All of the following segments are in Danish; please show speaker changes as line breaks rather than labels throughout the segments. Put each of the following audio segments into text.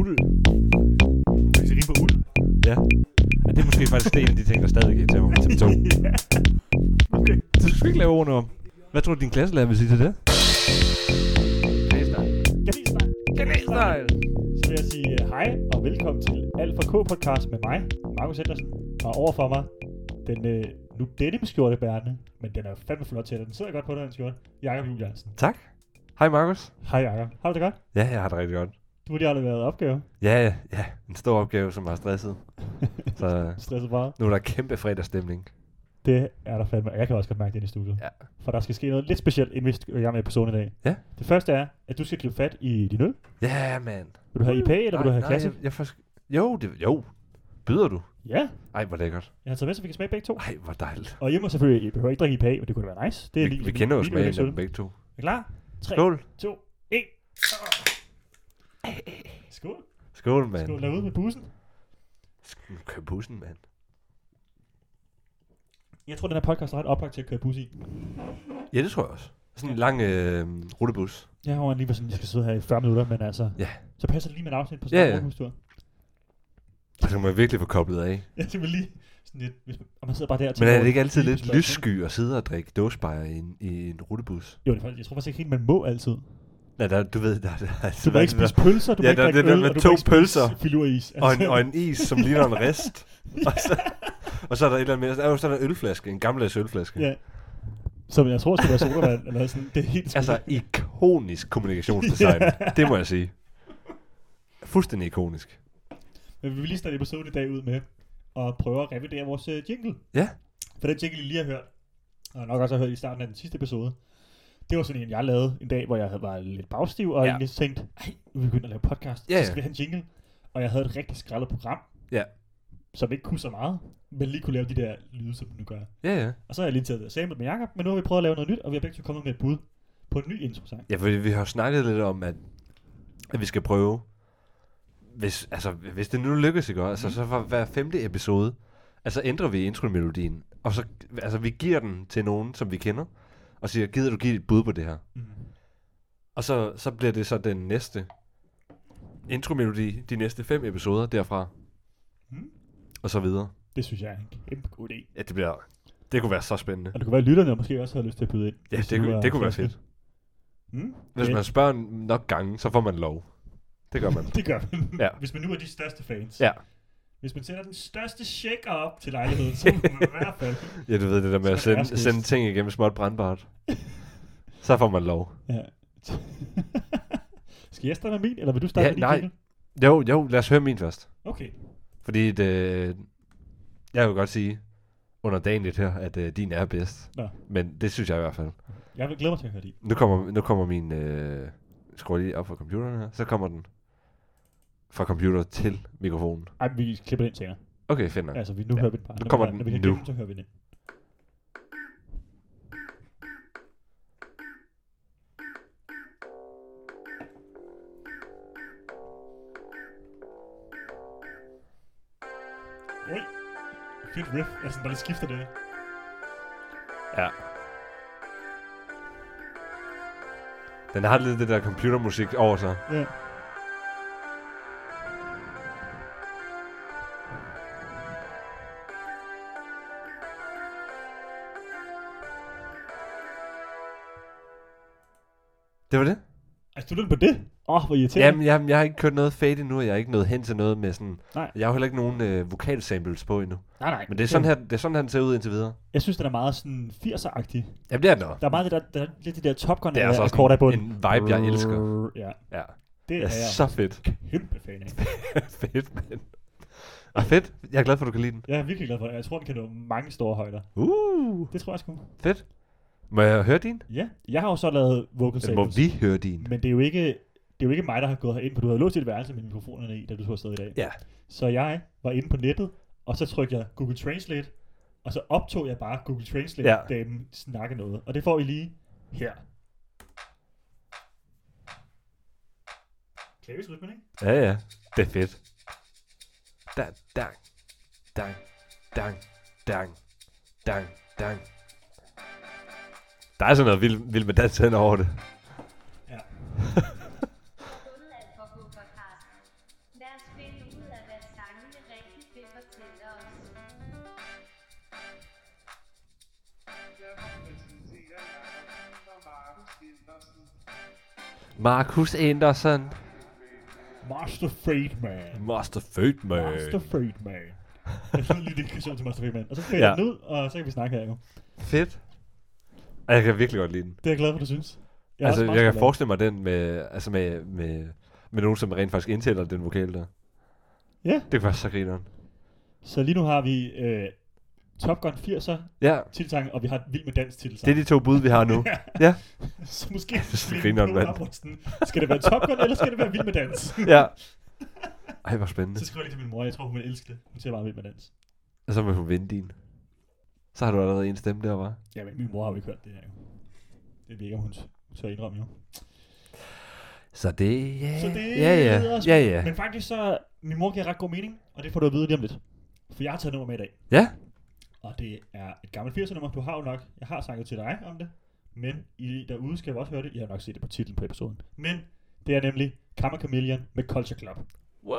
uld.
Hvis det rimer på uld.
Ja. ja det er måske faktisk det, en af de ting, der stadig irriterer mig med TV2.
Ja. Okay.
Så du skal ikke lave ordene om. Hvad tror du, din klasselærer vil sige til det?
Kanelsnegl.
Kanelsnegl.
Så vil jeg sige øh, hej og velkommen til Alt for K podcast med mig, Markus Hendersen. Og overfor mig, den øh, nu denim skjorte bærende, men den er jo fandme flot til, og den sidder godt på den her skjorte. Jakob Juliansen.
Tak. Hej, Markus.
Hej Jakob. Har du det godt?
Ja, jeg har det rigtig godt.
Du har lige aldrig været opgave.
Ja, ja, ja. En stor opgave, som har stresset. Så øh,
Stresset meget.
nu er der kæmpe fredagsstemning.
Det er der fandme. og Jeg kan også godt mærke det inde i studiet.
Ja.
For der skal ske noget lidt specielt, inden vi skal i gang med episoden i dag.
Ja.
Det første er, at du skal gribe fat i din øl.
Ja, mand.
Vil du have IPA, eller vil du have klassisk?
jeg, jeg faktisk... Jo, det, jo. Byder du?
Ja.
Ej, hvor lækkert.
Jeg har taget med, så vi kan smage begge to.
Ej, hvor dejligt.
Og I må selvfølgelig, I behøver ikke drikke IPA, men det kunne da være nice. Det er
Vi,
lige,
vi kender jo
lige
smagen af
yndlingsøl.
dem begge to.
Er I klar? 3,
Skål.
2, 1. Skål.
Skål, mand.
Skål derude med bussen.
Sk- Kør bussen, mand.
Jeg tror, den her podcast er ret oplagt til at køre bus i.
Ja, det tror jeg også. Sådan en lang øh, rutebus.
Jeg har jo lige været sådan, at jeg skal sidde her i 40 minutter, men altså...
Ja.
Så passer det lige med et afsnit på
Ja,
sådan
ja.
en yeah.
Og så kan Altså, man virkelig få koblet af.
Ja, det vil lige sådan lidt... Hvis man, og man sidder bare der
Men
og tænker
er
over
det ikke altid lidt
spørgsmål.
lyssky at sidde og drikke dåsebajer i en, i en rutebus?
Jo, det er, faktisk- jeg tror faktisk ikke helt, man må altid.
Nej, der, du ved, der, der, der,
Du må ikke spise pølser, du
Ja,
må ikke
der-
drikke
det der
øl,
med
og du
to
må ikke
pølser.
spise filuris.
og, en, og en is, som ligner en rest. og, så, og så er der et eller andet mere. Og så er der en ølflaske, en gammeldags ølflaske.
Ja. Altså, Som jeg tror skulle være sodavand, eller sådan. Det er helt
Altså, ikonisk kommunikationsdesign. Det må jeg sige. Fuldstændig ikonisk.
Men vi vil lige starte episoden i dag ud med at prøve at revidere vores øh, jingle.
Ja.
For den jingle, I lige har hørt, og nok også har hørt i starten af den sidste episode, det var sådan en, jeg lavede en dag, hvor jeg havde- var lidt bagstiv, og
Ja.
ja. egentlig tænkte, "Ej, nu er vi begyndt at lave podcast,
Ja,
ja,
ja.
så skal vi have en jingle. Og jeg havde et rigtig skrællet program,
Ja.
som ikke kunne så meget, men lige kunne lave de der lyde, som den nu gør.
Ja, ja.
Og så har jeg lige taget det og samlet med Jacob, men nu har vi prøvet at lave noget nyt, og vi har begge to kommet med et bud på en ny intro-sang.
Ja, for vi har jo snakket lidt om, at, at vi skal prøve, hvis, altså, hvis det nu lykkes, ikke? også? Altså, så for hver femte episode, altså ændrer vi intromelodien, og så, altså, vi giver den til nogen, som vi kender, og siger, gider du give et bud på det her?
Mm.
Og så, så bliver det så den næste intromelodi, de næste fem episoder derfra,
Mm.
og så videre.
Det synes jeg er en kæmpe god idé.
Mhm. Ja, det bliver, det kunne være så spændende.
Og det kunne være, at lytterne måske også havde lyst til at byde ind.
Ja,
hvis
det,
nu
kunne,
var
det kunne være
friske.
fedt.
Mm?
Hvis man spørger nok gange, så får man lov. Det gør man.
Det gør man.
Ja.
Ja. Hvis man nu er de største fans.
Ja.
Hvis man sender den største check op til lejligheden, så må man i hvert fald.
Ja, du ved det der med
Så
at
skal der
sende,
skiftes.
sende ting igennem småt brandbart. Så får man lov.
Ja. Skal jeg starte med min, eller vil du starte
Ja,
med din
nej.
jingle?
Jo, jo, lad os høre min først.
Okay.
Fordi det, jeg vil godt sige underdanigt her, at øh, din er bedst.
Nå.
Men det synes jeg i hvert fald.
Jeg vil glæde mig til at høre din.
Nu kommer, nu kommer min... Øh, skru lige op fra computeren her. Så kommer den fra computer til mikrofonen.
Ej, men vi klipper den senere.
Okay, fint nok.
Altså, vi nu
Ja.
hører vi den bare. Når vi
kommer
har-
den
når vi kan
nu.
glemme den, så hører vi den. Ui. Fedt riff. Altså, der lige skifter det.
Ja. Den har lidt det der computermusik over sig.
Ja.
Det var det?
Altså, du lytter på det? Åh, oh, hvor irriterende.
Jamen, jamen, jeg har ikke kørt noget fade endnu, og jeg er ikke nået hen til noget med sådan...
Nej.
Jeg har jo heller ikke nogen øh, vokalsamples på endnu.
nej, nej.
Men det er, sådan her, det er sådan, han ser ud indtil videre.
Jeg synes, den er meget sådan 80'er-agtig.
Jamen, det er den også.
Der er meget det der, der er lidt det der Top Gun
Det er altså også
akkord af
en,
bunden.
en vibe, jeg elsker.
Ja,
Ja,
det
det
er
er
jeg
så fedt.
kæmpe fan af.
fedt, mand. Og fedt. Jeg er glad for, at du kan lide den.
Jeg er virkelig glad for det. Jeg tror, den kan nå mange store højder.
Uh,
Det tror jeg sgu.
fedt. Må jeg høre din?
Ja, jeg har jo så lavet vocal
Eller må
samples.
vi høre din?
Men det er jo ikke, det er jo ikke mig, der har gået herind, for du havde låst dit værelse med mikrofonerne i, da du tog afsted i dag.
Ja.
Så jeg var inde på nettet, og så trykkede jeg Google Translate, og så optog jeg bare Google Translate-damen ja. snakke noget. Og det får I lige her. Klavisrytmen, ikke?
Ja, ja. Det er fedt. Dang, dang, dang, dang, dang, dang, dang. Der er sådan noget vildt vild med dans hen over det.
Ja.
Alt for god podcast. Lad os finde ud af, hvad sangene rigtig vil fortælle os.
Jeg præsenterer Jacob og Markus Henderson.
Markus Andersen.
Master Freedman.
Master Feldman.
Master Freedman. Jeg finder lige dedikation til Master Freedman. Og så finder
Ja.
jeg den ud, og så kan vi snakke her nu.
Fedt. Og Jeg kan virkelig godt lide den.
Det er jeg glad for, du synes. Jeg er
altså,
også meget
jeg kan
glad.
forestille mig den med, altså med, med, med nogen, som rent faktisk indtæller den vokal der.
Ja.
Det kan være så grineren.
Så lige nu har vi øh, Top Gun 80'er
Ja,
titelsangen, og vi har Vild med Dans
det
titelsang.
er de to bud, vi har nu. ja,
Så måske
synes, det
bliver
griner
Knud
en mand.
Abramsen. Skal det være Top Gun, eller skal det være Vild med Dans?
ja. Ej, hvor spændende.
Så skriver jeg lige til min mor, jeg tror, hun vil elske det. Hun siger bare Vild med Dans.
Og så må hun vinde din. Så har du allerede en stemme der, var.
Ja, men min mor har jo ikke hørt det her. jo. Det ved jeg ikke, om hun tør indrømme jo.
Så det, ja,
Så det
ja, ja,
lyder
ja, ja.
Men faktisk så, min mor giver ret god mening, og det får du at vide lige om lidt. For jeg har taget nummer med i dag,
Ja,
og det er et gammelt 80'er nummer, du har jo nok, jeg har snakket til dig om det, men I derude skal jo også høre det, jeg har nok set det på titlen på episoden. Men det er nemlig Kammer Chameleon med Culture Club.
Wow.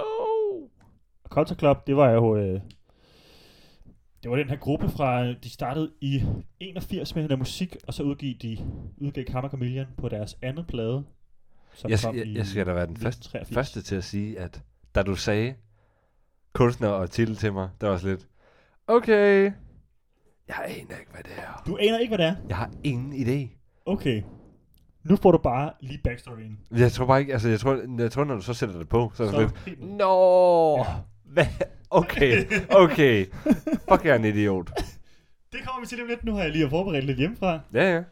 Og Culture Club, det var jo... Øh, det var den her gruppe fra... øh, De startede i 81 med den her musik, og så udgav de udgav Kammer Chameleon på deres andet plade. Som
Jeg, jeg, jeg skal da være den første,
1983.
første til at sige, at da du sagde kunstner og titel til mig, der var også lidt, okay, jeg aner ikke, hvad det er.
Du aner ikke, hvad det er.
Jeg har ingen idé.
Okay. Nu får du bare lige backstoryen.
Jeg tror bare ikke, altså jeg tror, jeg tror når du så sætter det på, så er det
Så
sådan
helt
lidt,
ned.
Nå,
Ja.
hvad? Okay, okay. Fuck, jeg er en idiot.
Det kommer vi til lige om lidt. Nu har jeg lige forberedt lidt hjemmefra.
Ja,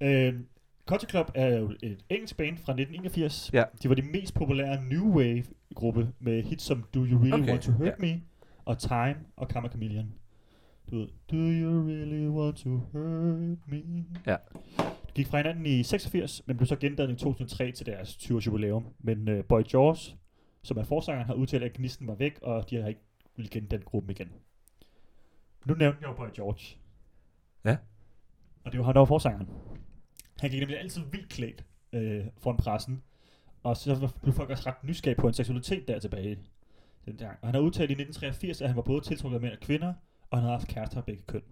ja.
Øh, Culture Club er jo et engelsk band fra 1981.
Ja.
De var de mest populære New Wave-gruppe med hits som Do You Really
Okay,
Want To Hurt
ja.
Me og Time og Karma Chameleon. Du ved, Do You Really Want To Hurt Me?
Ja.
De gik fra hinanden i 86, men blev så gendannet i 2003 til deres 20-års jubilæum. Men øh, Boy Jaws, som er forsangeren, har udtalt, at gnisten var væk, og de har ikke ville gendanne gruppen igen. Nu nævnte jeg jo Boy George.
Ja.
Og det var ham, der var forsangeren. Han gik nemlig altid vildt klædt øh, foran pressen. Og så blev folk også ret nysgerrige på hans seksualitet der tilbage. Den gang. Og han har udtalt i 1983, at han var både tiltrukket af mænd og kvinder, og han havde haft kærester af begge køn.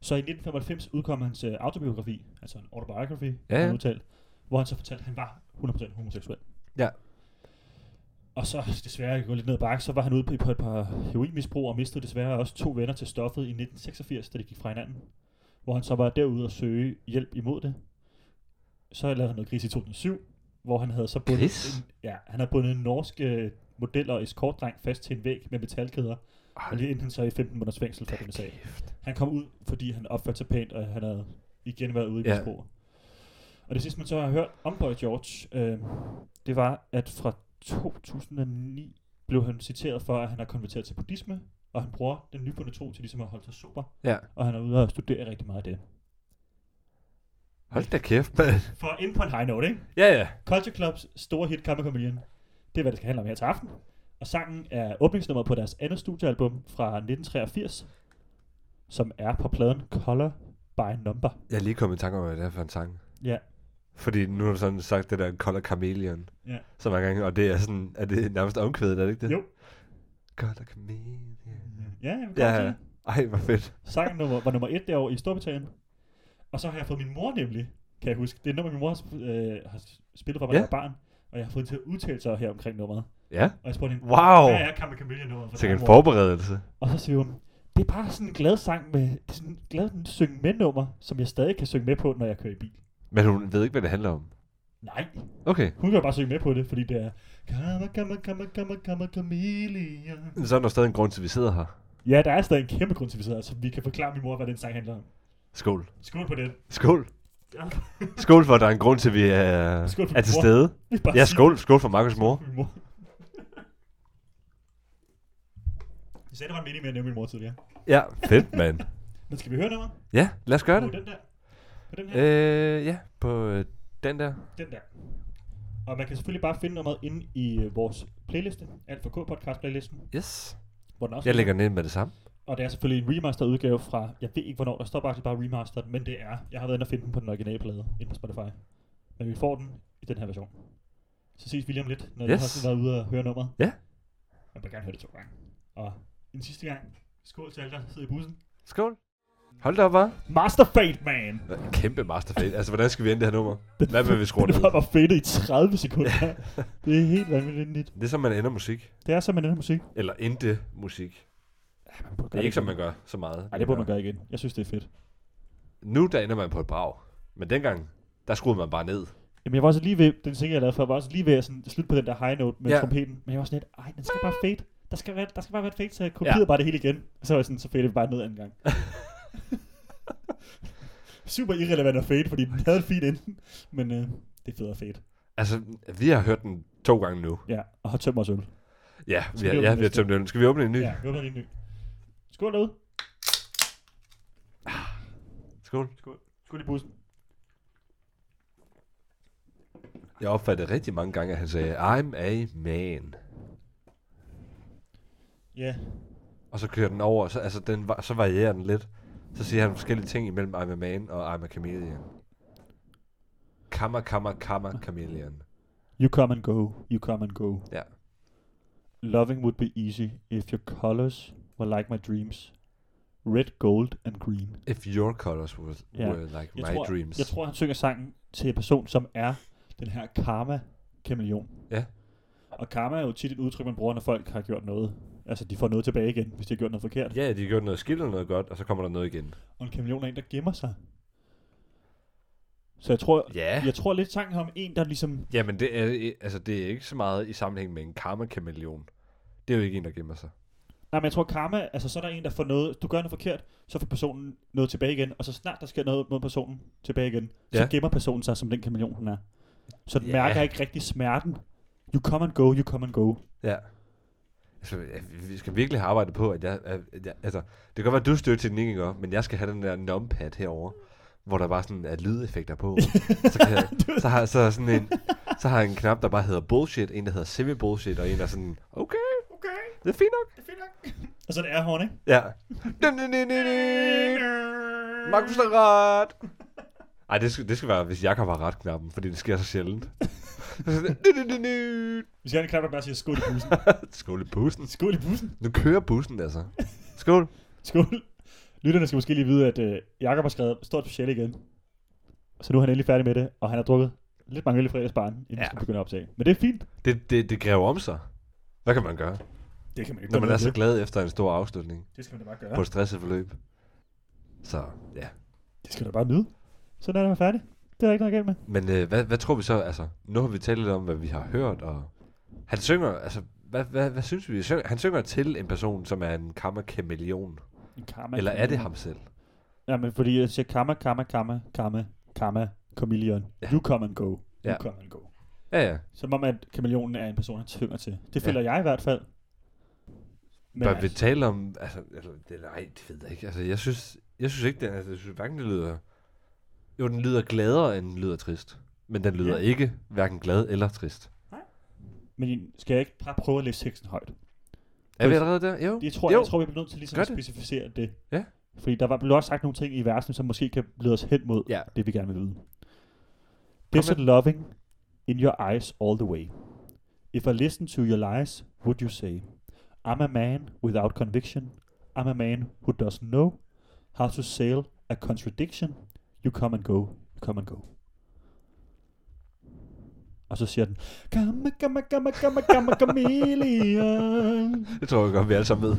Så i 1995 udkom hans øh, autobiografi, altså en autobiography, ja,
ja.
han udtalt, hvor han så fortalte, at han var 100% homoseksuel.
Ja.
Og så desværre gå lidt ned ad bakke, så var han ude på et par heroinmisbrug og mistede desværre også to venner til stoffet i 1986, da de gik fra hinanden. Hvor han så var derude og søge hjælp imod det. Så lavede han noget gris i 2007, hvor han havde så bundet,
Gris?
En, ja, han havde bundet en norsk øh, model og eskortdreng fast til en væg med metalkæder. Og lige inden han så i 15 måneders fængsel for den sag. Han kom ud, fordi han opførte sig pænt, og han havde igen været ude i
Ja.
ja. misbrug. Og det sidste, man så har hørt om Boy George, øh, det var, at fra 2009 blev han citeret for, at han har konverteret til buddhisme, og han bruger den nyfunde tro til ligesom at holde sig super,
Ja,
og han er ude og studere rigtig meget af det.
hold da kæft, mand.
For at ind på en high note, ikke?
Ja, ja.
Culture Clubs store hit Kammer Chameleon, det er, hvad det skal handle om her til aften. Og sangen er åbningsnummeret på deres andet studiealbum fra 1983, som er på pladen Color by Number.
Jeg er lige kommet i tanke om, hvad det er for en sang.
Ja,
Fordi nu har du sådan sagt det der Color Chameleon.
Ja.
Så mange gange, og det er sådan, er det nærmest omkvædet, er det ikke det?
Jo.
Color Chameleon.
Ja, jeg vil
Ja,
ja.
ja. Ej, hvor fedt.
Sangen nummer, var nummer et derovre i Storbritannien. Og så har jeg fået min mor nemlig, kan jeg huske. Det er et nummer, min mor har, sp- øh, har spillet fra, da
Ja.
jeg var barn. Og jeg har fået hende til at udtale sig her omkring nummeret.
Ja.
Og jeg spurgte hende,
Wow.
hvad er Kammer Chameleon nummeret? for
Tænk
dig,
en
mor?"
forberedelse.
Og så siger hun, det er bare sådan en glad sang med, det er sådan en glad synge med nummer, som jeg stadig kan synge med på, når jeg kører i bil.
Men hun ved ikke, hvad det handler om.
Nej,
Okay.
hun kan jo bare synge med på det, fordi det er Kammer, kammer, kammer, kammer, kammer, chameleon.
Så er der stadig en grund til, at vi sidder her.
Ja, der er stadig en kæmpe grund til, at vi sidder her, så vi kan forklare min mor, hvad den sang handler om.
Skål.
Skål på det.
Skål.
Ja.
Skål for, at der er en grund til, at vi er,
Skål for
er til
mor.
stede.
Vi bare
Ja,
sige-
skål. Skål for Markus' mor.
Min mor. Jeg sagde, der var en mening med at nævne min mor tidligere.
Ja, fedt, mand.
Men skal vi høre noget?
Ja, lad os gøre det.
På den der. På den her. Øh.
Øh, ja, på øh, den der.
Den der. Og man kan selvfølgelig bare finde nummeret inde i øh, vores playliste. Alt for K podcast playlisten.
Yes.
Hvor den også
Jeg lægger den ind med det samme.
Og det er selvfølgelig en remaster udgave fra, jeg ved ikke hvornår, der står faktisk bare remastered, men det er, jeg har været inde og finde den på den originale plade inde på Spotify. Men vi får den i den her version. Så ses vi lige om lidt, når yes.
Yes.
jeg har været ude og høre nummeret.
Ja.
Man bør gerne høre det to gange. Og en sidste gang. Skål til alle, der sidder i bussen.
Skål. Hold da op, hva'?
Master Fate, man!
Hva- Kæmpe masterfade. Altså, hvordan skal vi ende det her nummer? Hvad med, vi skruer
Det
ned?
var bare fedt i 30 sekunder. det er helt vanvittigt.
Det er som, man ender musik.
Det er så med den her musik.
Eller endte musik. Det er ikke, som man gør så meget. øh,
Nej, det burde man gøre igen. Jeg synes, det er fedt.
Nu, der ender man på et brag. Men dengang, der skruede man bare ned.
Jamen, jeg var også lige ved, den ting, jeg lavede før, var også lige ved at sådan, slutte på den der high note med
Ja.
ja. trompeten. Men jeg var sådan lidt, ej, den skal bare fade. Der skal, være, der skal bare være et fade, så jeg kopierede ja. bare det hele igen. Og så var jeg sådan, så fadede vi bare ned anden gang. Super irrelevant at fade, fordi den havde en fin inden. Men øh, det er fedt at fade.
Altså, vi har hørt den to gange nu.
Ja, og har tømt os øl.
Ja, vi
vi
har,
åbne
ja, vi har
næste?
tømt den. Skal vi åbne en ny?
Ja, vi åbner lige en ny. Skål derude.
Skål.
Skål. Skål i bussen.
Jeg opfattede rigtig mange gange, at han sagde, I'm a man.
Ja.
Og så kører den over, så, altså, den, var- så varierer den lidt. Så siger han forskellige ting imellem I'm a man og I'm a chameleon. Kammer, kammer, kammer, chameleon.
You come and go. You come and go.
Ja.
Loving would be easy if your colors were like my dreams. Red, gold and green.
If your colors were,
Ja.
were like my
Jeg tror-
dreams.
Jeg tror, han synger sangen til en person, som er den her karma kameleon.
Ja.
Og karma er jo tit et udtryk, man bruger, når folk har gjort noget. Altså, de får noget tilbage igen, hvis de har gjort noget forkert.
Ja, de har gjort noget skidt eller noget godt, og så kommer der noget igen.
Og en kameleon er en, der gemmer sig. Så jeg tror,
Ja.
jeg tror lidt sangen om en, der ligesom...
Jamen, det er, altså, det er ikke så meget i sammenhæng med en karma-kameleon. Det er jo ikke en, der gemmer sig.
Nej, men jeg tror karma, altså så er der en, der får noget... Du gør noget forkert, så får personen noget tilbage igen. Og så snart der sker noget mod personen tilbage igen, så
Ja.
gemmer personen sig, som den kameleon hun er. Så den
Ja.
mærker ikke rigtig smerten. You come and go, you come and go.
Ja. Altså, ja, vi- vi skal virkelig have arbejdet på, at jeg, at jeg altså, det kan godt være, at du er stødt til den ikke, ikke, men jeg skal have den der numpad herover, hvor der bare sådan er lydeffekter på. så, kan jeg, så, har, så, er sådan en, så har jeg en knap, der bare hedder bullshit, en, der hedder semi-bullshit, og en, der er sådan, okay,
Okay.
det er fint nok.
Og så er det Airhorn, ikke?
Ja. Dun, dun, dun, dun, dun. Markus har ret. Ej, det skal, det skal være, hvis Jakob har ret knappen, fordi det sker så sjældent.
Vi skal have en klap, der bare siger skål i bussen.
Skål i bussen.
Skål i bussen.
Nu kører bussen, altså. Skål.
Skål. Lytterne skal måske lige vide, at øh, Jakob har skrevet stort speciale igen. Så nu er han endelig færdig med det, og han har drukket lidt mange øl i fredagsbaren, inden ja. vi
Ja.
skal begynde at optage. Men det er fint.
Det, det, det græver om sig. Hvad kan man gøre,
Det kan man ikke
når man er så glad efter en stor afslutning
Det skal man da bare
ja.
gøre.
altså- på et stresset forløb? Så ja.
Det skal du bare nyde. Sådan er det, man er færdig. Det er der ikke noget galt med.
Men øh, hvad, hvad tror vi så? Altså, nu har vi talt lidt om, hvad vi har hørt, og han synger, altså, hvad, hvad, hvad synes vi? Synger- Han synger til en person, som er en kammerkameleon.
Karma,
Eller er det ham selv?
Ja, men fordi jeg siger karma, karma, karma, karma, karma, chameleon.
Ja.
Ja. You come and go. You
Ja.
ja. come and go.
Ja, ja.
Som om, at kameleonen er en person, han tvinger til. Det føler ja. jeg i hvert fald.
Men Bør vi tale om... Altså, altså, det, nej, det ved jeg ikke. Altså, jeg synes, jeg synes ikke, den... Altså, jeg synes hverken, det lyder... Jo, den lyder gladere, end den lyder trist. Men den lyder ja.
Ja.
ikke hverken glad eller trist.
Men skal jeg ikke bare prøve at læse teksten højt?
Er vi allerede der? Jo.
Det tror
jo.
jeg, jeg tror, vi bliver nødt til ligesom
Gør
at
det.
specificere det.
Ja.
Fordi der var, blev også sagt nogle ting i versen, som måske kan lede os hen mod
Ja.
det, vi gerne vil vide. Desert loving in your eyes all the way. If I listen to your lies, would you say, I'm a man without conviction. I'm a man who doesn't know how to sail a contradiction. You come and go, you come and go. Og så siger den, Gamma, gamma, gamma, gamma, gamma, chameleon.
Det tror jeg godt, vi alle sammen ved.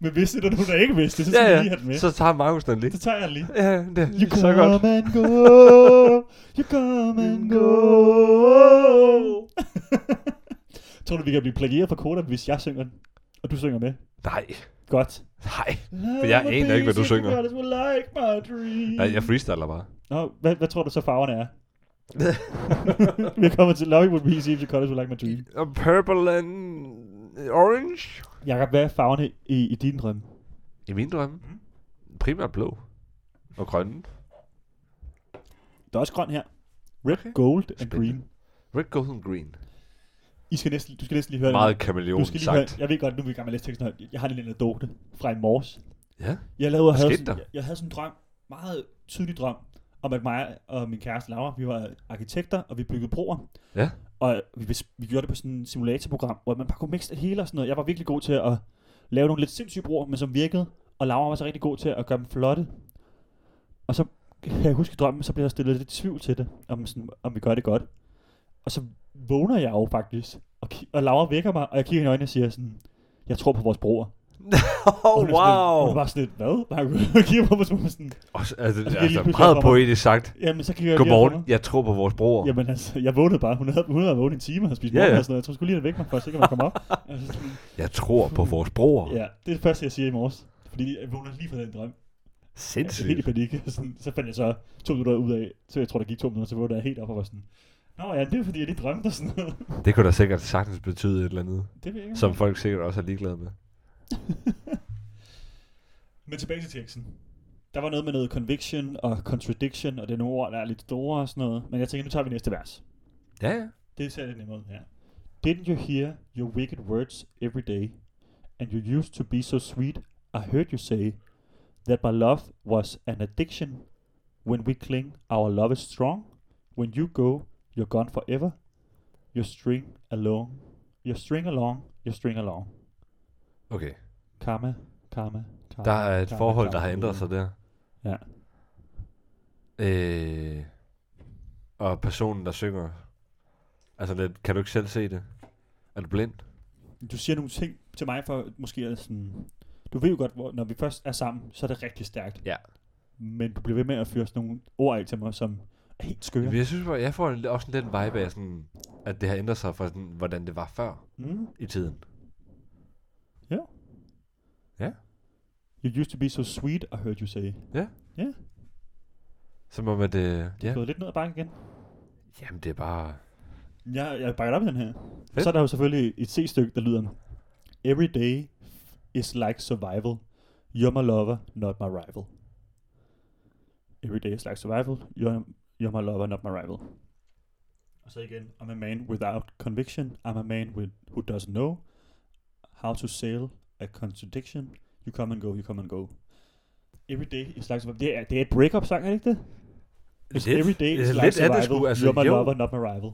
Men hvis det er der nogen, der ikke vidste det, så skal ja, ja.
ja,
lige have den
ja.
med.
Så tager Markus den lige.
Så tager jeg den lige.
Ja, det
You
er
come
så godt.
and go, you come and go. Tror du, vi kan blive plagieret for Koda, hvis jeg synger den? Og du synger med?
Nej,
Godt.
nej. For jeg aner ikke, hvad du synger.
Like my dream.
Nej, jeg freestyler bare.
Nå, hvad, hvad tror du så farverne er? vi er kommet til Love Would Be Easy If You Colors Would Like My Dream.
A purple and orange.
Jakob, hvad er farverne i, i din drøm?
I min drømme.
Mhm.
Primært blå. Og grønne.
Der er også grøn her. Red,
Okay.
okay. gold and
Spændende.
green.
Red, gold and green.
I skal næsten, du skal næsten lige høre det.
Meget kameleon
Du skal lige høre,
sagt.
jeg ved godt, nu er vi i gang med at læse teksten højt. Jeg har en lille anekdote fra i morges.
Ja.
Jeg lavede og
Hvad
havde
skete der?
sådan, jeg, jeg havde sådan en drøm, meget tydelig drøm, om at mig og min kæreste Laura, vi var arkitekter, og vi byggede broer.
Ja.
Og hvis vi gjorde det på sådan en simulatorprogram, hvor man bare kunne mixe det hele og sådan noget. Jeg var virkelig god til at lave nogle lidt sindssyge broer, men som virkede. Og Laura var så rigtig god til at gøre dem flotte. Og så kan jeg huske i drømmen, så blev jeg stillet lidt i tvivl til det, om, sådan, om vi gør det godt. Og så vågner jeg jo faktisk, og, ki- og Laura vækker mig, og jeg kigger hende i øjnene og siger sådan, jeg tror på vores broer.
Oh,
Og hun er sådan lidt- Hun var sådan lidt, hvad? Bare og kigger på mig, som sådan,
Også, altså,
lige
altså,
pludselig
altså
op for mig.
meget poetisk sagt.
jamen så kigger jeg lige over på
Godmorgen,
mig.
jeg tror på vores bror.
Jamen altså, jeg vågnede bare. Hun havde, hun havde vågnet en time og spist
Ja,
ja, ja.
ja.
og sådan noget. Jeg tror sgu lige, at vække mig, for så kan man komme op. altså, sådan,
Jeg tror på vores bror.
ja, det er det første, jeg siger i morges. Fordi jeg vågner lige fra den drøm. Jeg er altså helt i
Sindssygt.
panik. Sådan, så fandt jeg så to minutter ud af, så jeg tror, der gik to minutter, så vågnede jeg helt op og var sådan, Nå ja, det er fordi, jeg lige drømte og sådan noget.
Det kunne da sikkert sagtens betyde et eller andet,
Det ved jeg ikke.
som folk sikkert også er ligeglade med.
Men tilbage til teksten. Der var noget med noget conviction og contradiction, og det er nogle ord, der er lidt store og sådan noget. Men jeg tænker, nu tager vi næste vers.
Ja, ja.
Det ser lidt nemmere ud her. Didn't you hear your wicked words every day? And you used to be so sweet, I heard you say that my love was an addiction. When we cling, our love is strong. When you go, you're gone forever. You string along, you string along, you string along.
Okay.
Karma, karma, karma.
Der er et
karma,
forhold, der
karma,
har ændret sig der.
Ja.
Øh, og personen, der synger. Altså, lidt, kan du ikke selv se det? Er du blind?
Du siger nogle ting til mig for måske at sådan... Du ved jo godt, hvor, når vi først er sammen, så er det rigtig stærkt.
Ja.
Men du bliver ved med at fyre sådan nogle ord af til mig, som er helt skøre.
Men jeg synes, bare, jeg får en, også en lidt vibe af, sådan, at det har ændret sig fra, sådan, hvordan det var før
Mm.
i tiden.
You used to be so sweet, I heard you say. Det
Som om, at... Øh,
er
ja,
gået lidt ned ad bakken igen.
jamen, det er bare...
Jeg, jeg bakker op i den her. Fedt. Så er der jo selvfølgelig et C-stykke, der lyder... Every day is like survival. You're my lover, not my rival. Every day is like survival. You're, you're my lover, not my rival. Og så igen. I'm a man without conviction. I'm a man with, who doesn't know how to sail a contradiction. You come and go, you come and go. Every day is like survival. Det er, det er et breakup sang, er det ikke det? It's
Lidt.
every day is
Ja, lidt
like
er
survival.
det sgu, altså,
you're my
jo.
lover, not my rival.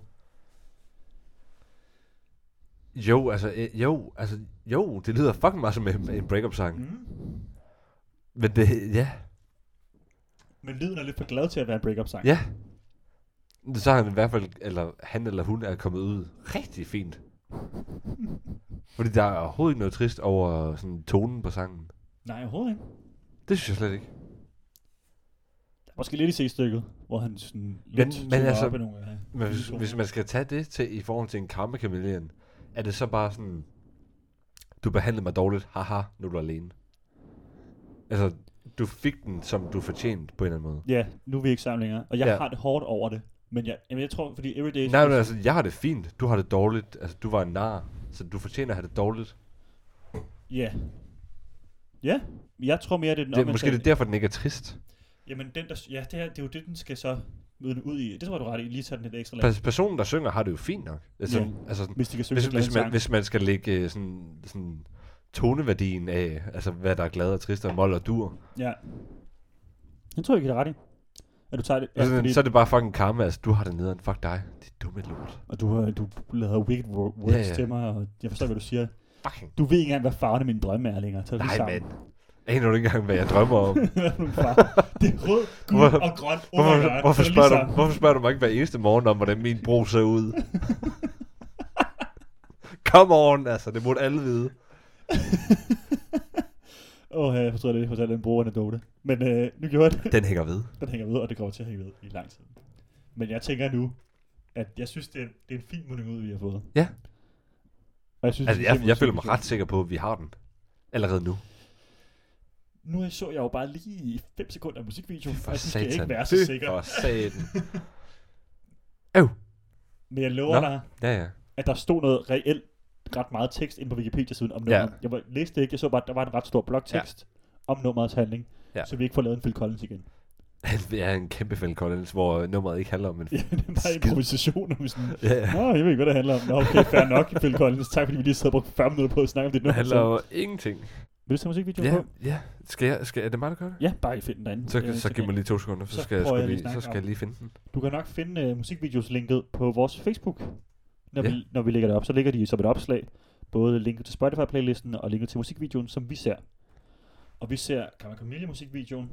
Jo, altså, øh, jo, altså, jo, det lyder fucking meget som en, en breakup-sang.
Mm.
Men det, ja,
Men lyden er lidt for glad til at være en breakup sang.
Ja. Så har han i hvert fald, eller han eller hun er kommet ud rigtig fint. Fordi der er overhovedet ikke noget trist over sådan tonen på sangen.
Nej, overhovedet ikke.
Det synes jeg slet ikke.
Der er måske lidt i C-stykket, hvor han sådan
Men-
lidt men,
men
men altså,
altså-
op i nogle af
Men hvis,
toner.
hvis man skal tage det til i forhold til en karma chameleon, er det så bare sådan, du behandlede mig dårligt, haha, nu er du alene. Altså, du fik den, som du fortjente på en eller anden måde.
Ja, nu er vi ikke sammen længere. Og jeg ja.
Ja.
har det hårdt over det. Men jeg, jamen jeg tror, fordi Everyday is...
Nej, men altså, jeg har det fint, du har det dårligt, altså, du var en nar, så du fortjener at have det dårligt.
Ja. Ja, jeg tror mere, det er den
Det, måske det er
omvendte-
derfor, den ikke er trist.
Jamen, den der, ja, det, her, det er jo det, den skal så møde ud i. Det tror jeg, du er ret i. Lige tage den lidt ekstra lag.
Pers- Personen, der synger, har det jo fint nok. Altså,
Ja.
ja. altså sådan,
Hvis de kan synge
hvis,
så glad
hvis,
en
man,
sang.
hvis man skal lægge øh, sådan, sådan toneværdien af, altså hvad der er glad og trist og mål og dur,
Ja. Den tror jeg, ikke, det er ret i. At du tager det.
ja, så,
fordi-
så er det bare fucking karma, altså du har det nederen, fuck dig, det er dumme lort.
Og du, har- du lader wicked wo- words ja,
Ja,
ja.
ja.
til mig, og jeg forstår, hvad du siger.
Fucking.
Du ved ikke engang, hvad farven af mine drømme er længere. Tag det
Nej,
sammen.
mand. Aner du ikke engang, hvad jeg drømmer om?
Hvad for nogle farver? det er rød, gul
Hvor-
og grøn. Oh my God.
Hvorfor, hvorfor,
Tag det lige
spørger du,
sammen.
hvorfor spørger du mig ikke hver eneste morgen om, hvordan min bro ser ud? Come on, altså, det burde alle vide.
Åh, oh, jeg forstår det. Jeg fortalte en brugeranekdote. Men øh, nu gjorde jeg det.
Den hænger ved.
Den hænger ved, og det kommer til at hænge ved i lang tid. Men jeg tænker nu, at jeg synes, det er, det er en fin munding ud, vi har fået.
Ja.
Og jeg synes,
Altså,
det er
jeg,
simpelthen
jeg føler mig
super
ret sikker på, at vi har den. Allerede nu.
sjovt. Nu så jeg jo bare lige 5 sekunder af musikvideo,
For
og jeg synes, det ikke være så
Fy
sikker.
For satan.
Men jeg lover
Nå.
dig,
Ja, ja.
at der stod noget reelt ret meget tekst inde på Wikipedia-siden om
Ja.
nummeret. Jeg var- læste det ikke, jeg så bare, at der var en ret stor blogtekst ja. om nummerets handling, ja.
Ja.
så vi ikke får lavet en Phil Collins igen.
Det er en kæmpe Phil Collins, hvor øh, nummeret ikke handler om en...
Ja, det er bare
Skid.
improvisation om sådan,
Ja, ja.
Nå, jeg ved ikke, hvad det handler om. Nå, okay, fair nok, Phil Collins. Tak, fordi vi lige sad og brugte 40 minutter på at snakke om det
Det
nummer.
handler
så-
jo ingenting.
Vil du se musikvideoen
Ja,
på?
ja. Skal jeg, skal, er det mig, der gør det?
Ja, bare find den derinde.
Så,
Øh,
så giv mig lige to sekunder,
så
så skal jeg,
prøver
sgu
jeg lige at
lige,
snakke
så skal
om-
jeg lige finde den.
Du kan nok finde uh, musikvideoslinket på vores Facebook. når,
Ja.
vi, når vi lægger det op, så ligger de som et opslag, både linket til Spotify-playlisten og linket til musikvideoen, som vi ser. Og vi ser Karma Camille-musikvideoen,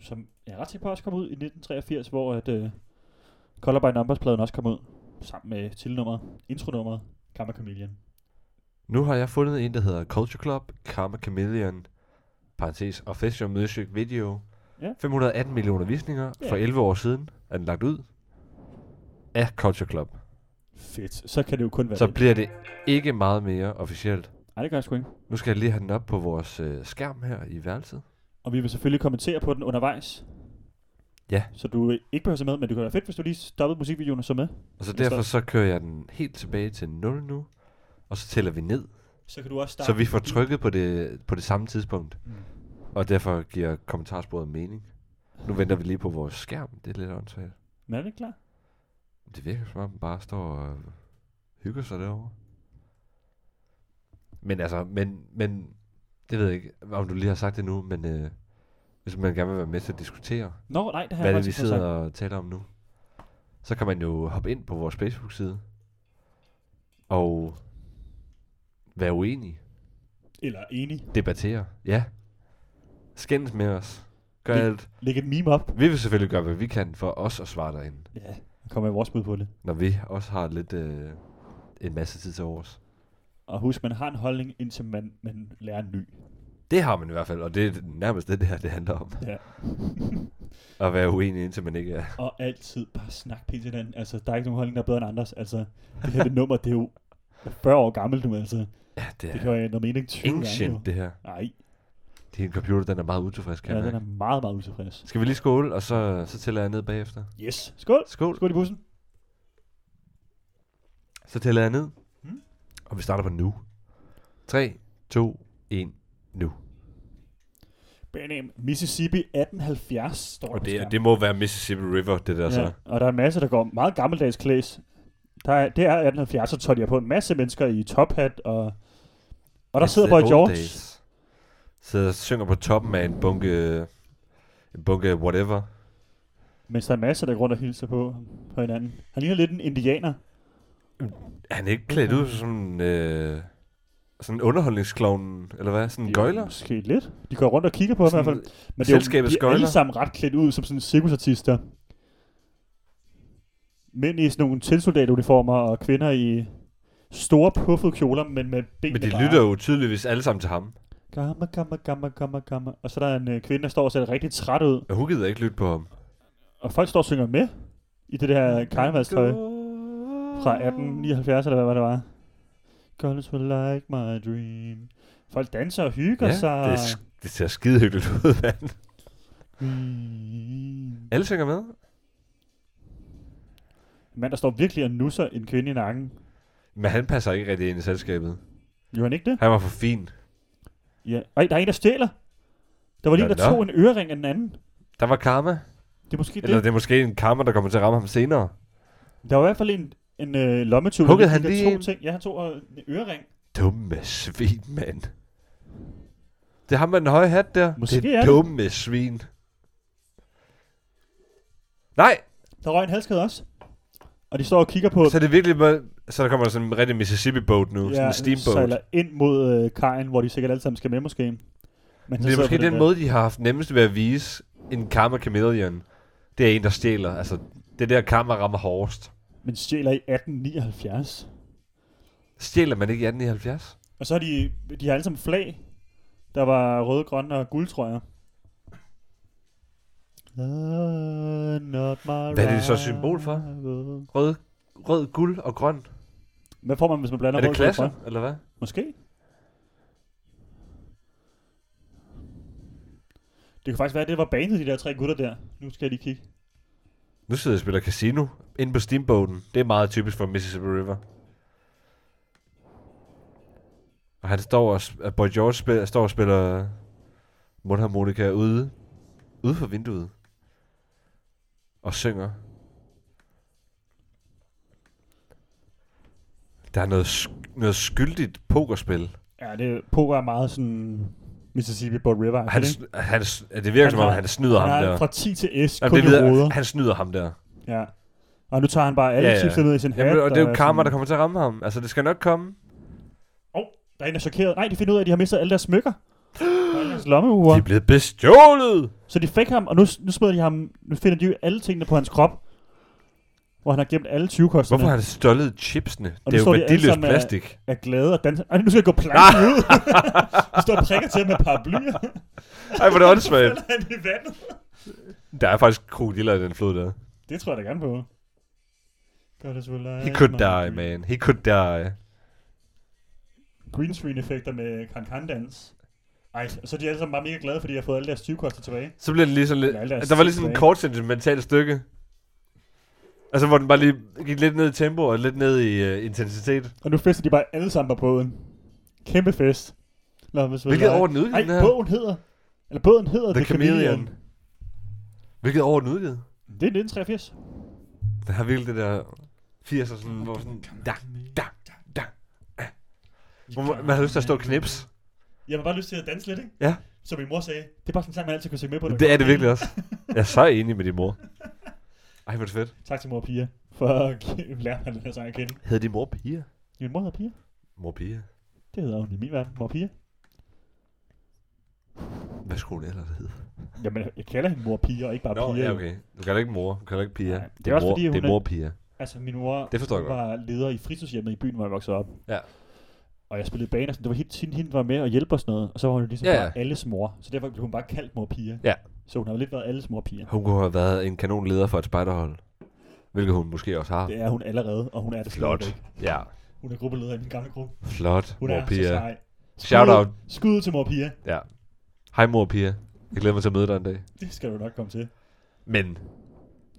som jeg er ret sikker på også kom ud i 1983, hvor at, øh, Color by Numbers-pladen også kom ud, sammen med tilnummeret, intronummeret, Karma Chameleon.
Nu har jeg fundet en, der hedder Culture Club, Karma Chameleon, parentes official music video.
Ja.
518 millioner visninger
Ja.
for 11 år siden er den lagt ud af Culture Club.
Fedt. Så kan det jo kun være
Så
det.
bliver det ikke meget mere officielt.
Ej, det gør jeg sgu ikke.
Nu skal jeg lige have den op på vores øh, skærm her i værelset.
Og vi vil selvfølgelig kommentere på den undervejs.
Ja.
Så du øh, ikke behøver at se med, men det kunne være fedt, hvis du lige stoppede musikvideoen og så med.
Og så
Forstår.
derfor så kører jeg den helt tilbage til 0 nu, og så tæller vi ned,
Så kan du også starte.
så vi får trykket på det, på det samme tidspunkt.
Mm.
Og derfor giver kommentarsporet mening. Nu venter vi lige på vores skærm, det er lidt åndssvagt.
Men er det ikke klar?
Det virker som om, den bare står og hygger sig derovre. Men altså, men, men det ved jeg ikke, om du lige har sagt det nu, men øh, hvis man gerne vil være med til at diskutere,
Nå, nej, det har
hvad
jeg
det er, vi
faktisk fået
sidder
sagt.
og taler om nu, så kan man jo hoppe ind på vores Facebook-side og være uenig,
Eller enig.
debattere, ja, skændes med os, gør
Det-
alt.
Læg et meme op.
Vi vil selvfølgelig gøre, hvad vi kan for os at svare derinde,
Ja, og kommer med vores bud på det.
når vi også har lidt øh, en masse tid til overs.
Og husk, man har en holdning, indtil man, man lærer en ny.
Det har man i hvert fald, og det er nærmest det, det her det handler om.
Ja.
At være uenig, indtil man ikke er.
Og altid bare snak pænt til hinanden. Altså, der er ikke nogen holdning, der er bedre end andres. Altså, det her det nummer, det er jo 40 år gammelt nu, altså.
Ja, det
Det
er
kan jo ændre mening 20 gange.
ancient,
nu.
det her.
Nej,
Din computer, den er meget utilfreds, kan
ja,
jeg
den
mærke.
er meget, meget utilfreds.
Skal vi lige skåle, og så, så tæller jeg ned bagefter?
Yes. Skål.
Skål.
Skål i bussen.
Så tæller jeg ned.
Mm.
Og vi starter på nu. 3, 2, 1, nu.
Benham, Mississippi 1870 står der
Og
på
det,
skærmen.
er, det må være Mississippi River, det der ja. så.
og der er en masse, der går meget gammeldags klæs. Der er, det er 1870, så tøj, de har på en masse mennesker i tophat, og, og der
It's
sidder
the
Boy
old
George.
days. Sidder og synger på toppen af en bunke, en bunke whatever.
Mens der er en masse, der går rundt og hilser på, på hinanden. Han ligner lidt en indianer.
Er han ikke klædt ud som sådan, øh, sådan underholdningsklovnen, eller hvad? Sådan en
Det er jo
gøjler?
Måske lidt. De går rundt og kigger på ham i hvert
Sådan-
fald. Men det er jo, de
selskabets
er alle
gøjler.
sammen ret klædt ud som sådan cirkusartister. Mænd i sådan nogle tilsoldatuniformer, og kvinder i store puffede kjoler, men med benene
Men de
bare.
lytter jo tydeligvis alle sammen til ham.
Gamma, gamma, gamma, gamma, gamma. Og så er der en øh, kvinde, der står og ser rigtig træt ud.
Og hun gider ikke lytte på ham.
Og folk står og synger med i det der karnevalstøj fra 1879, eller hvad det var. Colors will like my dream. Folk danser og hygger
Ja,
sig.
det, er, sk- det ser skide hyggeligt ud, mand.
Mm.
Alle synger med.
En mand, der står virkelig og nusser en kvinde i nakken.
Men han passer ikke rigtig ind i selskabet.
Jo, han ikke det?
Han var for fin.
Ja. Ej, der er en, der stjæler. Der var lige en,
Nå,
der
nå.
tog en ørering af den anden.
Der var karma.
Det er måske
Eller
det.
det er måske en karma, der kommer til at ramme ham senere.
Der var i hvert fald en, en øh, lommetyv. der
Huggede
lige
han lige
fik der to
en?
ting. Ja, han tog øh, en ørering.
Dumme svin, mand. Det er ham med den høje hat der.
Måske
det
er
er
det.
dumme svin. Nej,
Der røg en halskæde også. Og de står og kigger på...
så er det virkelig med, så der kommer der sådan en rigtig Mississippi-boat nu. Ja, sådan en steamboat.
sejler ind mod øh, kajen, hvor de sikkert alle sammen skal med måske. Men han
Det
sidder
er måske
på
den
der.
måde, de har haft nemmest ved at vise en karma chameleon. Det er en, der stjæler. Altså, det er der karma rammer hårdest.
Men stjæler i 1879.
Stjæler man ikke i 1870?
Og så har de, de har alle sammen flag. Der var røde, grønne og guld, tror jeg. Ah, Not my
Hvad er det så symbol for?
rival.
Rød, rød guld og grøn.
Hvad får man, hvis man blander
er det
rød, grøn og
klasser,
grøn?
eller hvad?
Måske. Det kunne faktisk være, at det var banet, de der tre gutter der. Nu skal jeg lige kigge.
Nu sidder jeg og spiller casino inde på steamboaten. Det er meget typisk for Mississippi River. Og han står og, sp- at Boy George spiller, står og spiller mundharmonika ude, ude for vinduet. Og synger. Der er noget, sk- noget skyldigt pokerspil.
Ja, det, poker er meget sådan Mississippi på River.
Han,
ikke?
sn- han, sn- det virker
Han
som om,
har-
han snyder ham
han er
der.
fra 10 til S,
Jamen,
kun
det
i
ved,
ruder.
jeg- han snyder ham der.
Ja. Og nu tager han bare alle
Ja, ja.
ja, chipsene ned i sin hat.
Jamen, og det er jo karma,
sådan-
der kommer til at ramme ham. Altså, det skal nok komme.
Der er en, der er chokeret. Nej, de finder ud af, at de har mistet alle deres smykker. Og alle deres lommeure.
De er blevet bestjålet!
Så de fik ham, og nu, nu smider de ham. Nu finder de jo alle tingene på hans krop. Hvor han har gemt alle 20 kosterne.
Hvorfor har han stjålet chipsene?
nu
Det er jo
står de alle
værdiløst
sammen af-
plastik.
er glade og danser. Ej, nu skal jeg gå planken ud. Nu står og prikker til ham med paraplyer.
Ej, hvor er det åndssvagt.
Falder han i vandet.
Der er faktisk krokodiller i den flod der.
Det tror jeg da gerne på. God, det
He could die, man. He could die.
Green screen effekter med kankan-dans. Ej, og så er de alle sammen bare mega glade, fordi de har fået alle deres 20 koster tilbage.
Så bliver det lige sådan lidt...
Ja, lad os
Der var lige sådan
tilbage.
en kort sentimental stykke. Altså, hvor den bare lige gik lidt ned i tempo og lidt ned i øh, intensitet.
Og nu fester de bare alle sammen på båden. Kæmpe fest. Lad os
Hvilket år er den udgivet,
Ej,
den her?
bogen hedder... Eller båden hedder
The, Chameleon. Hvilket år er den udgivet?
Det er 1983.
Den har virkelig det der 80'er sådan, hvor sådan... Da, da, da. Hvor man, man har lyst til at stå og knips.
Jeg har bare lyst til at danse lidt, ikke?
Ja.
Som min mor sagde, det er bare sådan en sang, man altid kunne synge med på. når
Det er
man
det
kommer ind.
virkelig også. Jeg er så enig med din mor. Ej, hvor er det fedt.
Tak til mor og Pia for at give- lære mig den her sang at kende.
Hed din mor Pia?
Min mor hedder Pia.
Mor Pia?
Det hedder hun i min verden. Mor Pia.
Hvad skulle hun ellers hedde?
Jamen, jeg kalder hende mor Pia, og ikke bare
Nå,
Pia.
ja, okay. Du kalder ikke mor. Du kalder ikke Pia.
Nej,
det,
det
er
er også
mor,
fordi, hun
det er
er-
mor Pia.
Altså, min mor
Det forstår jeg godt.
var leder i fritidshjemmet i byen, hvor jeg voksede op.
Ja.
Og jeg spillede baner, så det var helt tiden, hende var med og hjælpe og sådan noget. Og så var hun jo ligesom
Ja,
ja,
ja.
ja. bare alles mor. Så derfor blev hun bare kaldt mor Pia.
Ja. Ah.
Så hun har jo lidt været alles mor Pia.
Hun kunne have været en kanonleder for et spejderhold. Hvilket hun måske også har.
Det er hun allerede, og hun er det
Flot.
stadigvæk.
Ja,
Hun er gruppeleder i min gamle gruppe.
flot,
Hun
mor
er så
Pia.
sej. Skud-
Shout out.
Skud til mor Pia.
Ja. Hej mor Pia. Jeg glæder mig til at møde dig en dag.
Det skal du nok komme til.
Men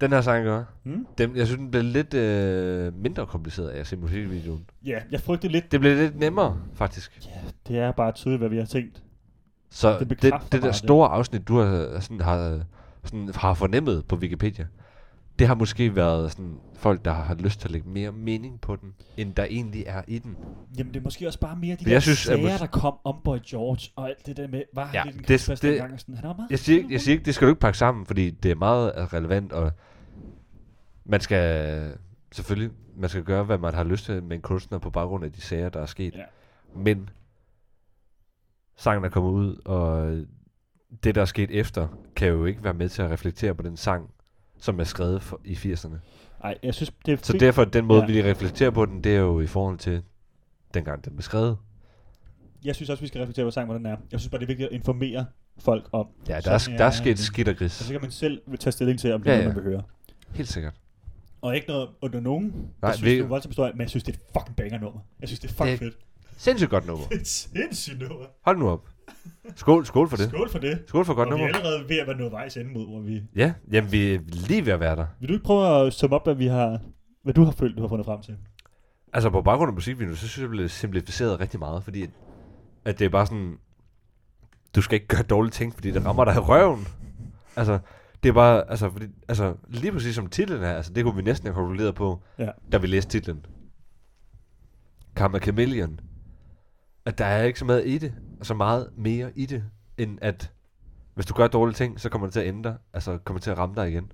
den her sang gør,
Hmm?
dem, jeg synes, den blev lidt øh, mindre kompliceret af at se musikvideoen.
Ja, jeg frygtede lidt.
Det blev lidt nemmere, faktisk.
Ja, det er bare tydeligt, hvad vi har tænkt.
Så
Det
det, det,
bekræfter
det der
bare
store afsnit, du har, øh, sådan, har, sådan, har fornemmet på Wikipedia, det har måske været sådan, folk, der har lyst til at lægge mere mening på den, end der egentlig er i den.
Jamen det er måske også bare mere
Men
de der
jeg
jeg
synes,
synes,
at
sager,
mus-
der kom om Boy George, og alt det der med, var han
Ja,
ja, lidt en
det-
det,
det-
det, gang, og sådan. Han er meget
Jeg siger, ikke, jeg siger ikke, det skal du ikke pakke sammen, fordi det er meget relevant, og man skal selvfølgelig man skal gøre, hvad man har lyst til med en kunstner på baggrund af de sager, der er sket.
Ja.
Men sangen er kommet ud, og det, der er sket efter, kan jo ikke være med til at reflektere på den sang, som er skrevet for, i 80'erne.
Nej, jeg synes, det er
Så
fedt.
derfor, den måde,
Ja.
ja. vi reflekterer på den, det er jo i forhold til dengang, den blev skrevet.
Jeg synes også, vi skal reflektere på sangen, hvordan den er. Jeg synes bare, det er vigtigt at informere folk om.
Ja, der,
Sådan,
er,
ja,
der er
ja,
sket
ja. Altså-
skidt og
Og
gris.
så kan man selv tage stilling til, om det
Ja,
er noget,
ja.
man vil høre.
Helt sikkert.
Og ikke noget under nogen.
Nej,
Nej, jeg synes,
vi-
det er voldsomt historie, men jeg synes, det er et fucking banger nummer. Jeg synes, det er fucking
Det-
fedt.
Sindssygt godt nummer.
Det er et sindssygt nummer.
Hold nu op. Skål, skål for det.
Skål for det.
Skål for godt
Og vi
nummer.
er allerede ved at være nået vejs ende mod, hvor vi...
Ja, jamen vi er lige ved at være der.
Vil du ikke prøve at summe op, hvad vi har... Hvad du har følt, du har fundet frem til?
Altså på baggrund af musikvideoen, så synes jeg, det blev simplificeret rigtig meget, fordi at, at det er bare sådan, du skal ikke gøre dårlige ting, fordi det rammer dig i røven. Altså, det er bare, altså, fordi, altså lige præcis som titlen er, altså det kunne vi næsten have konkluderet på,
Ja.
da vi læste titlen. Karma Chameleon. At der er ikke så meget i det, og så meget mere i det, end at hvis du gør dårlige ting, så kommer det til at ændre, altså kommer det til at ramme dig igen.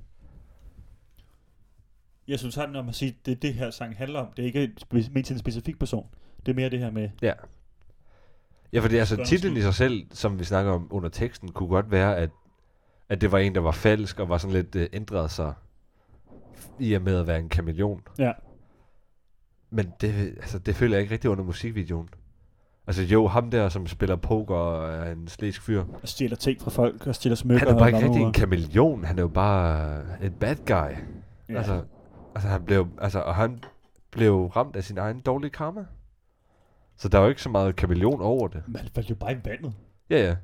Jeg synes, han om at sige, det er det her sang handler om. Det er ikke spe- ment til en specifik person. Det er mere det her med,
Ja. Ja, fordi altså
Spørgsmål.
titlen i sig selv, som vi snakker om under teksten, kunne godt være, at, at det var en, der var falsk og var sådan lidt øh, ændret sig i og med at være en kameleon.
ja,
Men det, altså, det føler jeg ikke rigtig under musikvideoen. Altså jo, ham der, som spiller poker og er en slæsk fyr,
og stjæler ting fra folk, og stjæler
han
smykker.
er bare
og
ikke rigtig en
lommeure.
kameleon, han er jo bare øh, en bad guy. Ja. Altså, altså, han blev, altså, og han blev ramt af sin egen dårlige karma. Så der er jo ikke så meget kameleon over det.
Man faldt jo bare i vandet.
Ja, ja.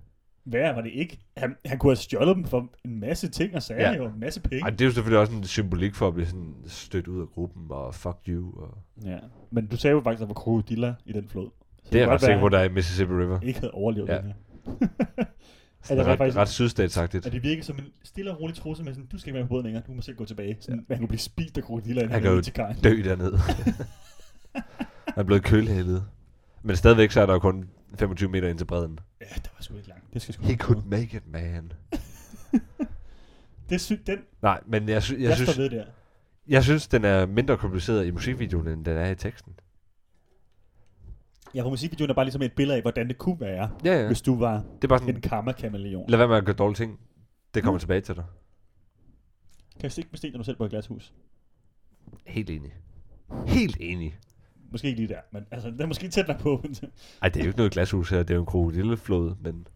Hvad var det ikke? Han, han kunne have stjålet dem for en masse ting og sager,
Ja.
ja. jo en masse penge.
Ej, det er jo selvfølgelig også en symbolik for at blive sådan stødt ud af gruppen og fuck you. Og...
Ja. Men du sagde jo faktisk, at der var krokodiller i den flod. Så
Det er jeg
kan
ret
godt
sikker
være,
på, der er i Mississippi River.
han ikke havde overlevet
Ja.
ja. det her.
Sådan
rent
ret,
faktisk-
ret sydstatsagtigt.
Og det virkede som en stille og rolig trussel med sådan, du skal ikke være på båden længere, du må selv gå tilbage. Sådan, ja. Man kunne blive spist af krokodiller, inden
Han
han
kan jo
nåede til kajen.
Dø dernede. Han er blevet kølhældet. Men stadigvæk så er der jo kun 25 meter ind til bredden.
Ja, der var sgu ikke langt. Det skal sgu
He
nok
could
gå.
make it, man.
Det er sygt, den, jeg,
Nej, men jeg, sy- jeg,
jeg
synes,
står ved der.
Jeg synes, den er mindre kompliceret i musikvideoen, end den er i teksten.
Ja, for musikvideoen er bare ligesom et billede af, hvordan det kunne være,
Ja,
ja.
ja.
hvis du var
Det er bare
en
sådan,
karma-kameleon.
lad være med at gøre dårlige ting. Det
Mm.
kommer tilbage til dig.
Kan stikke med sten, når du selv bor i glashus?
Helt enig. Helt enig.
Måske ikke lige der, men altså, det er måske tæt nok på. men-
Ej, det er jo ikke noget glashus her, det er jo en krokodilleflod, men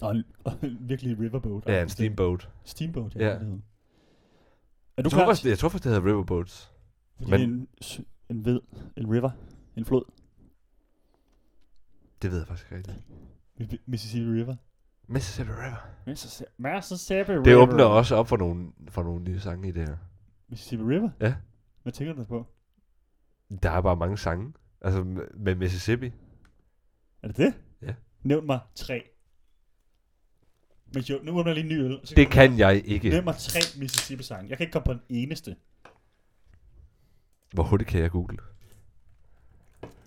og, en, og en virkelig riverboat. Altså,
ja, en steamboat.
Steamboat, ja.
Ja.
det er det, det hedder. Er
Jeg
du
tror,
klar?
faktisk, jeg tror faktisk, det hedder riverboats.
Fordi
men-
en, sø- en ved, en river, en flod.
Det ved jeg faktisk ikke rigtigt.
Mi- Mississippi River.
Mississippi River.
Mississippi River.
Det åbner også op for nogle, for nogle nye sange i det her.
Mississippi River?
Ja.
Hvad tænker du på?
Der er bare mange sange. Altså m- med Mississippi.
Er det det?
Ja.
Nævn mig tre. Men jo, nu åbner jeg lige en ny øl. Så
Det kan jeg ikke.
Nævn mig tre Mississippi-sange. Jeg kan ikke komme på en eneste.
Hvor hurtigt kan jeg google?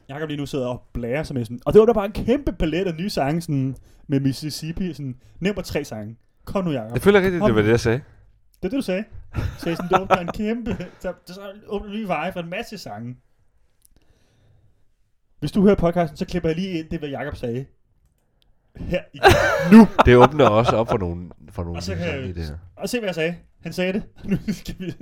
Jakob lige nu sidder og blærer sig med sådan, og det var der bare en kæmpe palet af nye sange sådan, med Mississippi, sådan, nævn mig tre sange. Kom nu, Jakob.
Jeg føler rigtigt, det var det, jeg sagde.
Det er det, du sagde. Du sagde sådan, du åbner en kæmpe, så, så åbner du lige veje for en masse sange. Hvis du hører podcasten, så klipper jeg lige ind det, hvad Jakob sagde. Her i, nu.
Det åbner også op for nogle, for nogle
Og så
nye
kan
sange
jeg-
i det her.
Og se, hvad jeg sagde. Han sagde det. Nu skal vi...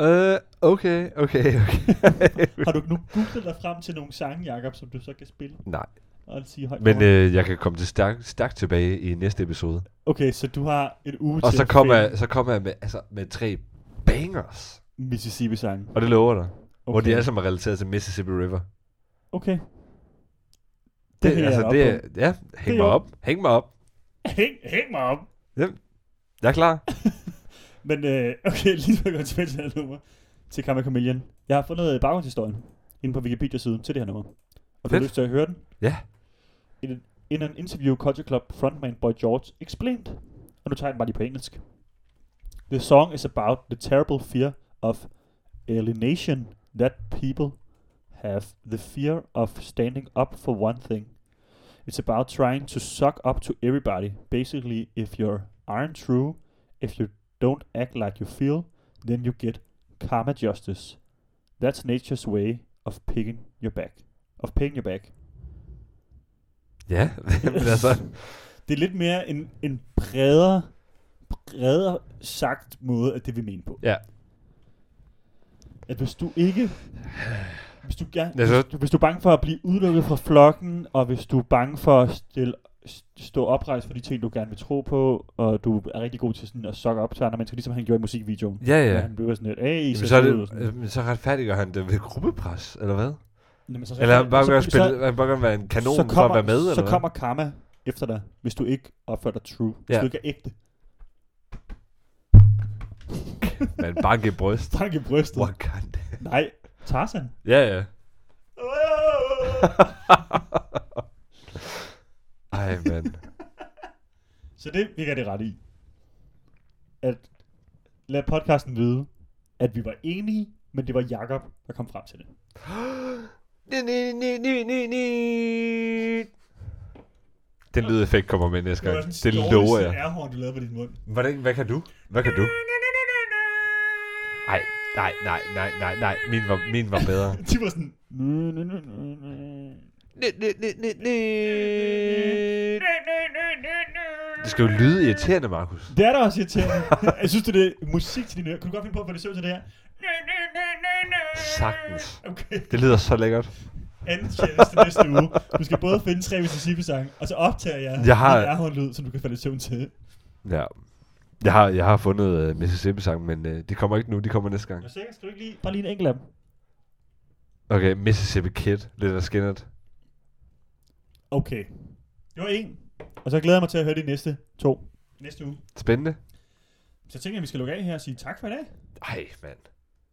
Øh, okay, okay, okay.
Har du nu googlet dig frem til nogle sange, Jakob, som du så kan spille
Nej,
og sige højt?
men
for mig?
øh, jeg kan komme til stærkt stærk tilbage i næste episode.
okay, så du har en uge
Og
til
så
at
kommer
finde
jeg, så kommer jeg med, altså, med tre bangers.
Mississippi-sange.
Og det lover dig. Okay.
Okay.
Hvor de alle sammen er relateret til Mississippi River.
Okay. Det, det hænger altså, op
det,
det...
er- Ja, hæng
er
mig
jo-
op. Hæng mig op.
Hæng, hæng mig op.
Jeg er klar.
Men øh, okay, lige så godt tilbage til det her nummer. Til Karma Chameleon. Jeg har fundet øh, baggrundshistorien inde på Wikipedia-siden til det her nummer. Og du har
Fedt.
lyst til at høre den?
Ja.
In, an- in an interview, Culture Club frontman Boy George explained, og nu tager jeg den bare lige på engelsk. The song is about the terrible fear of alienation that people have. The fear of standing up for one thing. It's about trying to suck up to everybody. Basically, if you aren't true, if you don't act like you feel, then you get karma justice. That's nature's way of picking your back. Of picking your back.
Ja, men altså,
Det er lidt mere en, en bredere, bredere sagt måde, at det vi mener på.
Ja.
At hvis du ikke... Hvis du, gerne,
Altså-
hvis, du, hvis du er bange for at blive udelukket fra flokken, og hvis du er bange for at stille, st- stå oprejst for de ting, du gerne vil tro på, og du er rigtig god til sådan at sokke op til andre mennesker, ligesom han gjorde i musikvideoen.
ja, ja.
Ja. Han blev sådan lidt, hey, I
Jamen,
ser
så, er
søde ud," og
det,
sådan.
øh, men så retfærdiggør han det ved gruppepres, eller hvad?
Jamen, så,
Eller han bare
så-
gør
så-
spille, han bare gerne være en kanon
så
for at være med,
så
eller hvad?
kommer karma efter dig, hvis du ikke opfører dig true. Hvis
Ja.
du ikke er ægte.
Med en bank i bryst.
Bank i brystet.
Hvor kan det?
Nej, Tarzan.
Ja, ja. Ej, mand.
så det virker det ret i. At lad podcasten vide, at vi var enige, men det var Jakob der kom frem til det.
Ni, ni, ni, ni, ni, ni. Den lydeffekt kommer med næste gang. Det lover jeg.
Det du lavede på din mund.
Hvordan, hvad kan du? Hvad kan du? Nej, nej, nej, nej, nej, nej. Min var, min var bedre.
De var sådan...
Det skal jo lyde irriterende, Markus.
Det er da også irriterende. jeg synes, det er musik til dine ører. Kunne du godt finde på, hvad det ser ud til det her?
Sagtens.
Okay.
Det lyder så lækkert.
anden tjeneste næste uge. Du skal både finde tre Mississippi-sange, og så optager jeg,
Jeg har-
jeg har en lyd, som du kan falde i søvn til.
Ja. Jeg har, jeg har fundet uh, Mississippi-sangen, men uh, det kommer ikke nu, det kommer næste gang.
Jeg er sikker, skal du ikke lige... Bare lige en enkelt af dem.
Okay, Mississippi Kid, lidt af skinnet.
Okay. Det var en. Og så glæder jeg mig til at høre de næste to. Næste uge.
Spændende.
Så tænker jeg, at vi skal lukke af her og sige tak for i dag.
Ej, mand.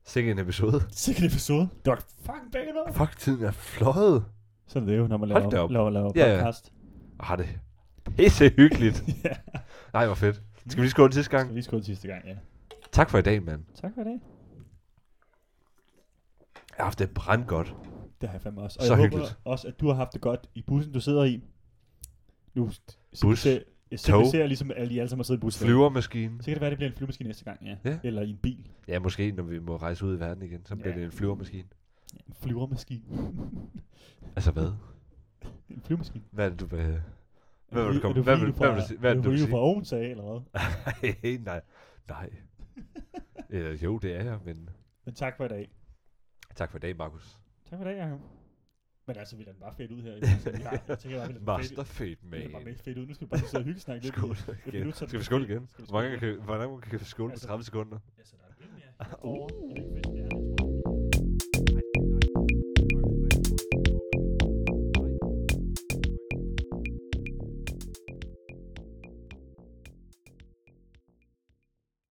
Sikke en episode.
Sikkert episode. Det var fucking begge noget.
Fuck, tiden er fløjet.
Sådan er det jo, når man
Hold da
laver,
op.
laver, laver
Ja, ja.
podcast.
Og har det pisse hyggeligt.
ja.
Nej, hvor fedt. Skal vi lige skåle sidste
Så
gang?
vi skulle sidste gang, ja.
Tak for i dag, mand.
Tak for i dag.
Jeg har haft det brandgodt.
Det har jeg fandme også. Og
Så
jeg
hyggeligt.
håber også, at du har haft det godt i bussen, du sidder i. Nu,
Bus?
Se, simplificerer ligesom alle de alle sammen har siddet i bussen.
Flyvermaskine.
Så kan det være, det bliver en flyvemaskine næste gang, ja.
Ja.
Eller i en bil.
Ja, måske når vi må rejse ud i verden igen, så bliver
Ja.
det en flyvermaskine.
En flyvermaskine.
Altså hvad?
en flyvemaskine.
Hvad er det, du vil... Hvad vil du
Er
komme? Hvad
fordi,
vil,
du
hvad vil
får-
du sige? Hvad er
er
det,
du
du vil
fordi,
sige?
du får oven af, eller hvad?
Nej, nej. Nej. Eller, jo, det er jeg, men
Men tak for i dag.
tak for i dag, Markus.
Tak for i dag, Jacob. Men altså, vi lader den bare fedt ud her. Jeg, synes, at jeg, jeg tænker bare, vi lader den fedt
Master Fate,
vi lader den bare
man.
mega fedt ud. Nu skal vi bare sidde og hygge snakke lidt. i
Skål
et
igen.
minut, så er det
Skal vi
fedt.
skåle igen?
Skal vi
Hvor mange
skåle
gange kan, hvor mange gange kan vi skåle på
Altså-
30 sekunder?
igen? Ja, så der er lidt mere herovre. Er det ikke fedt?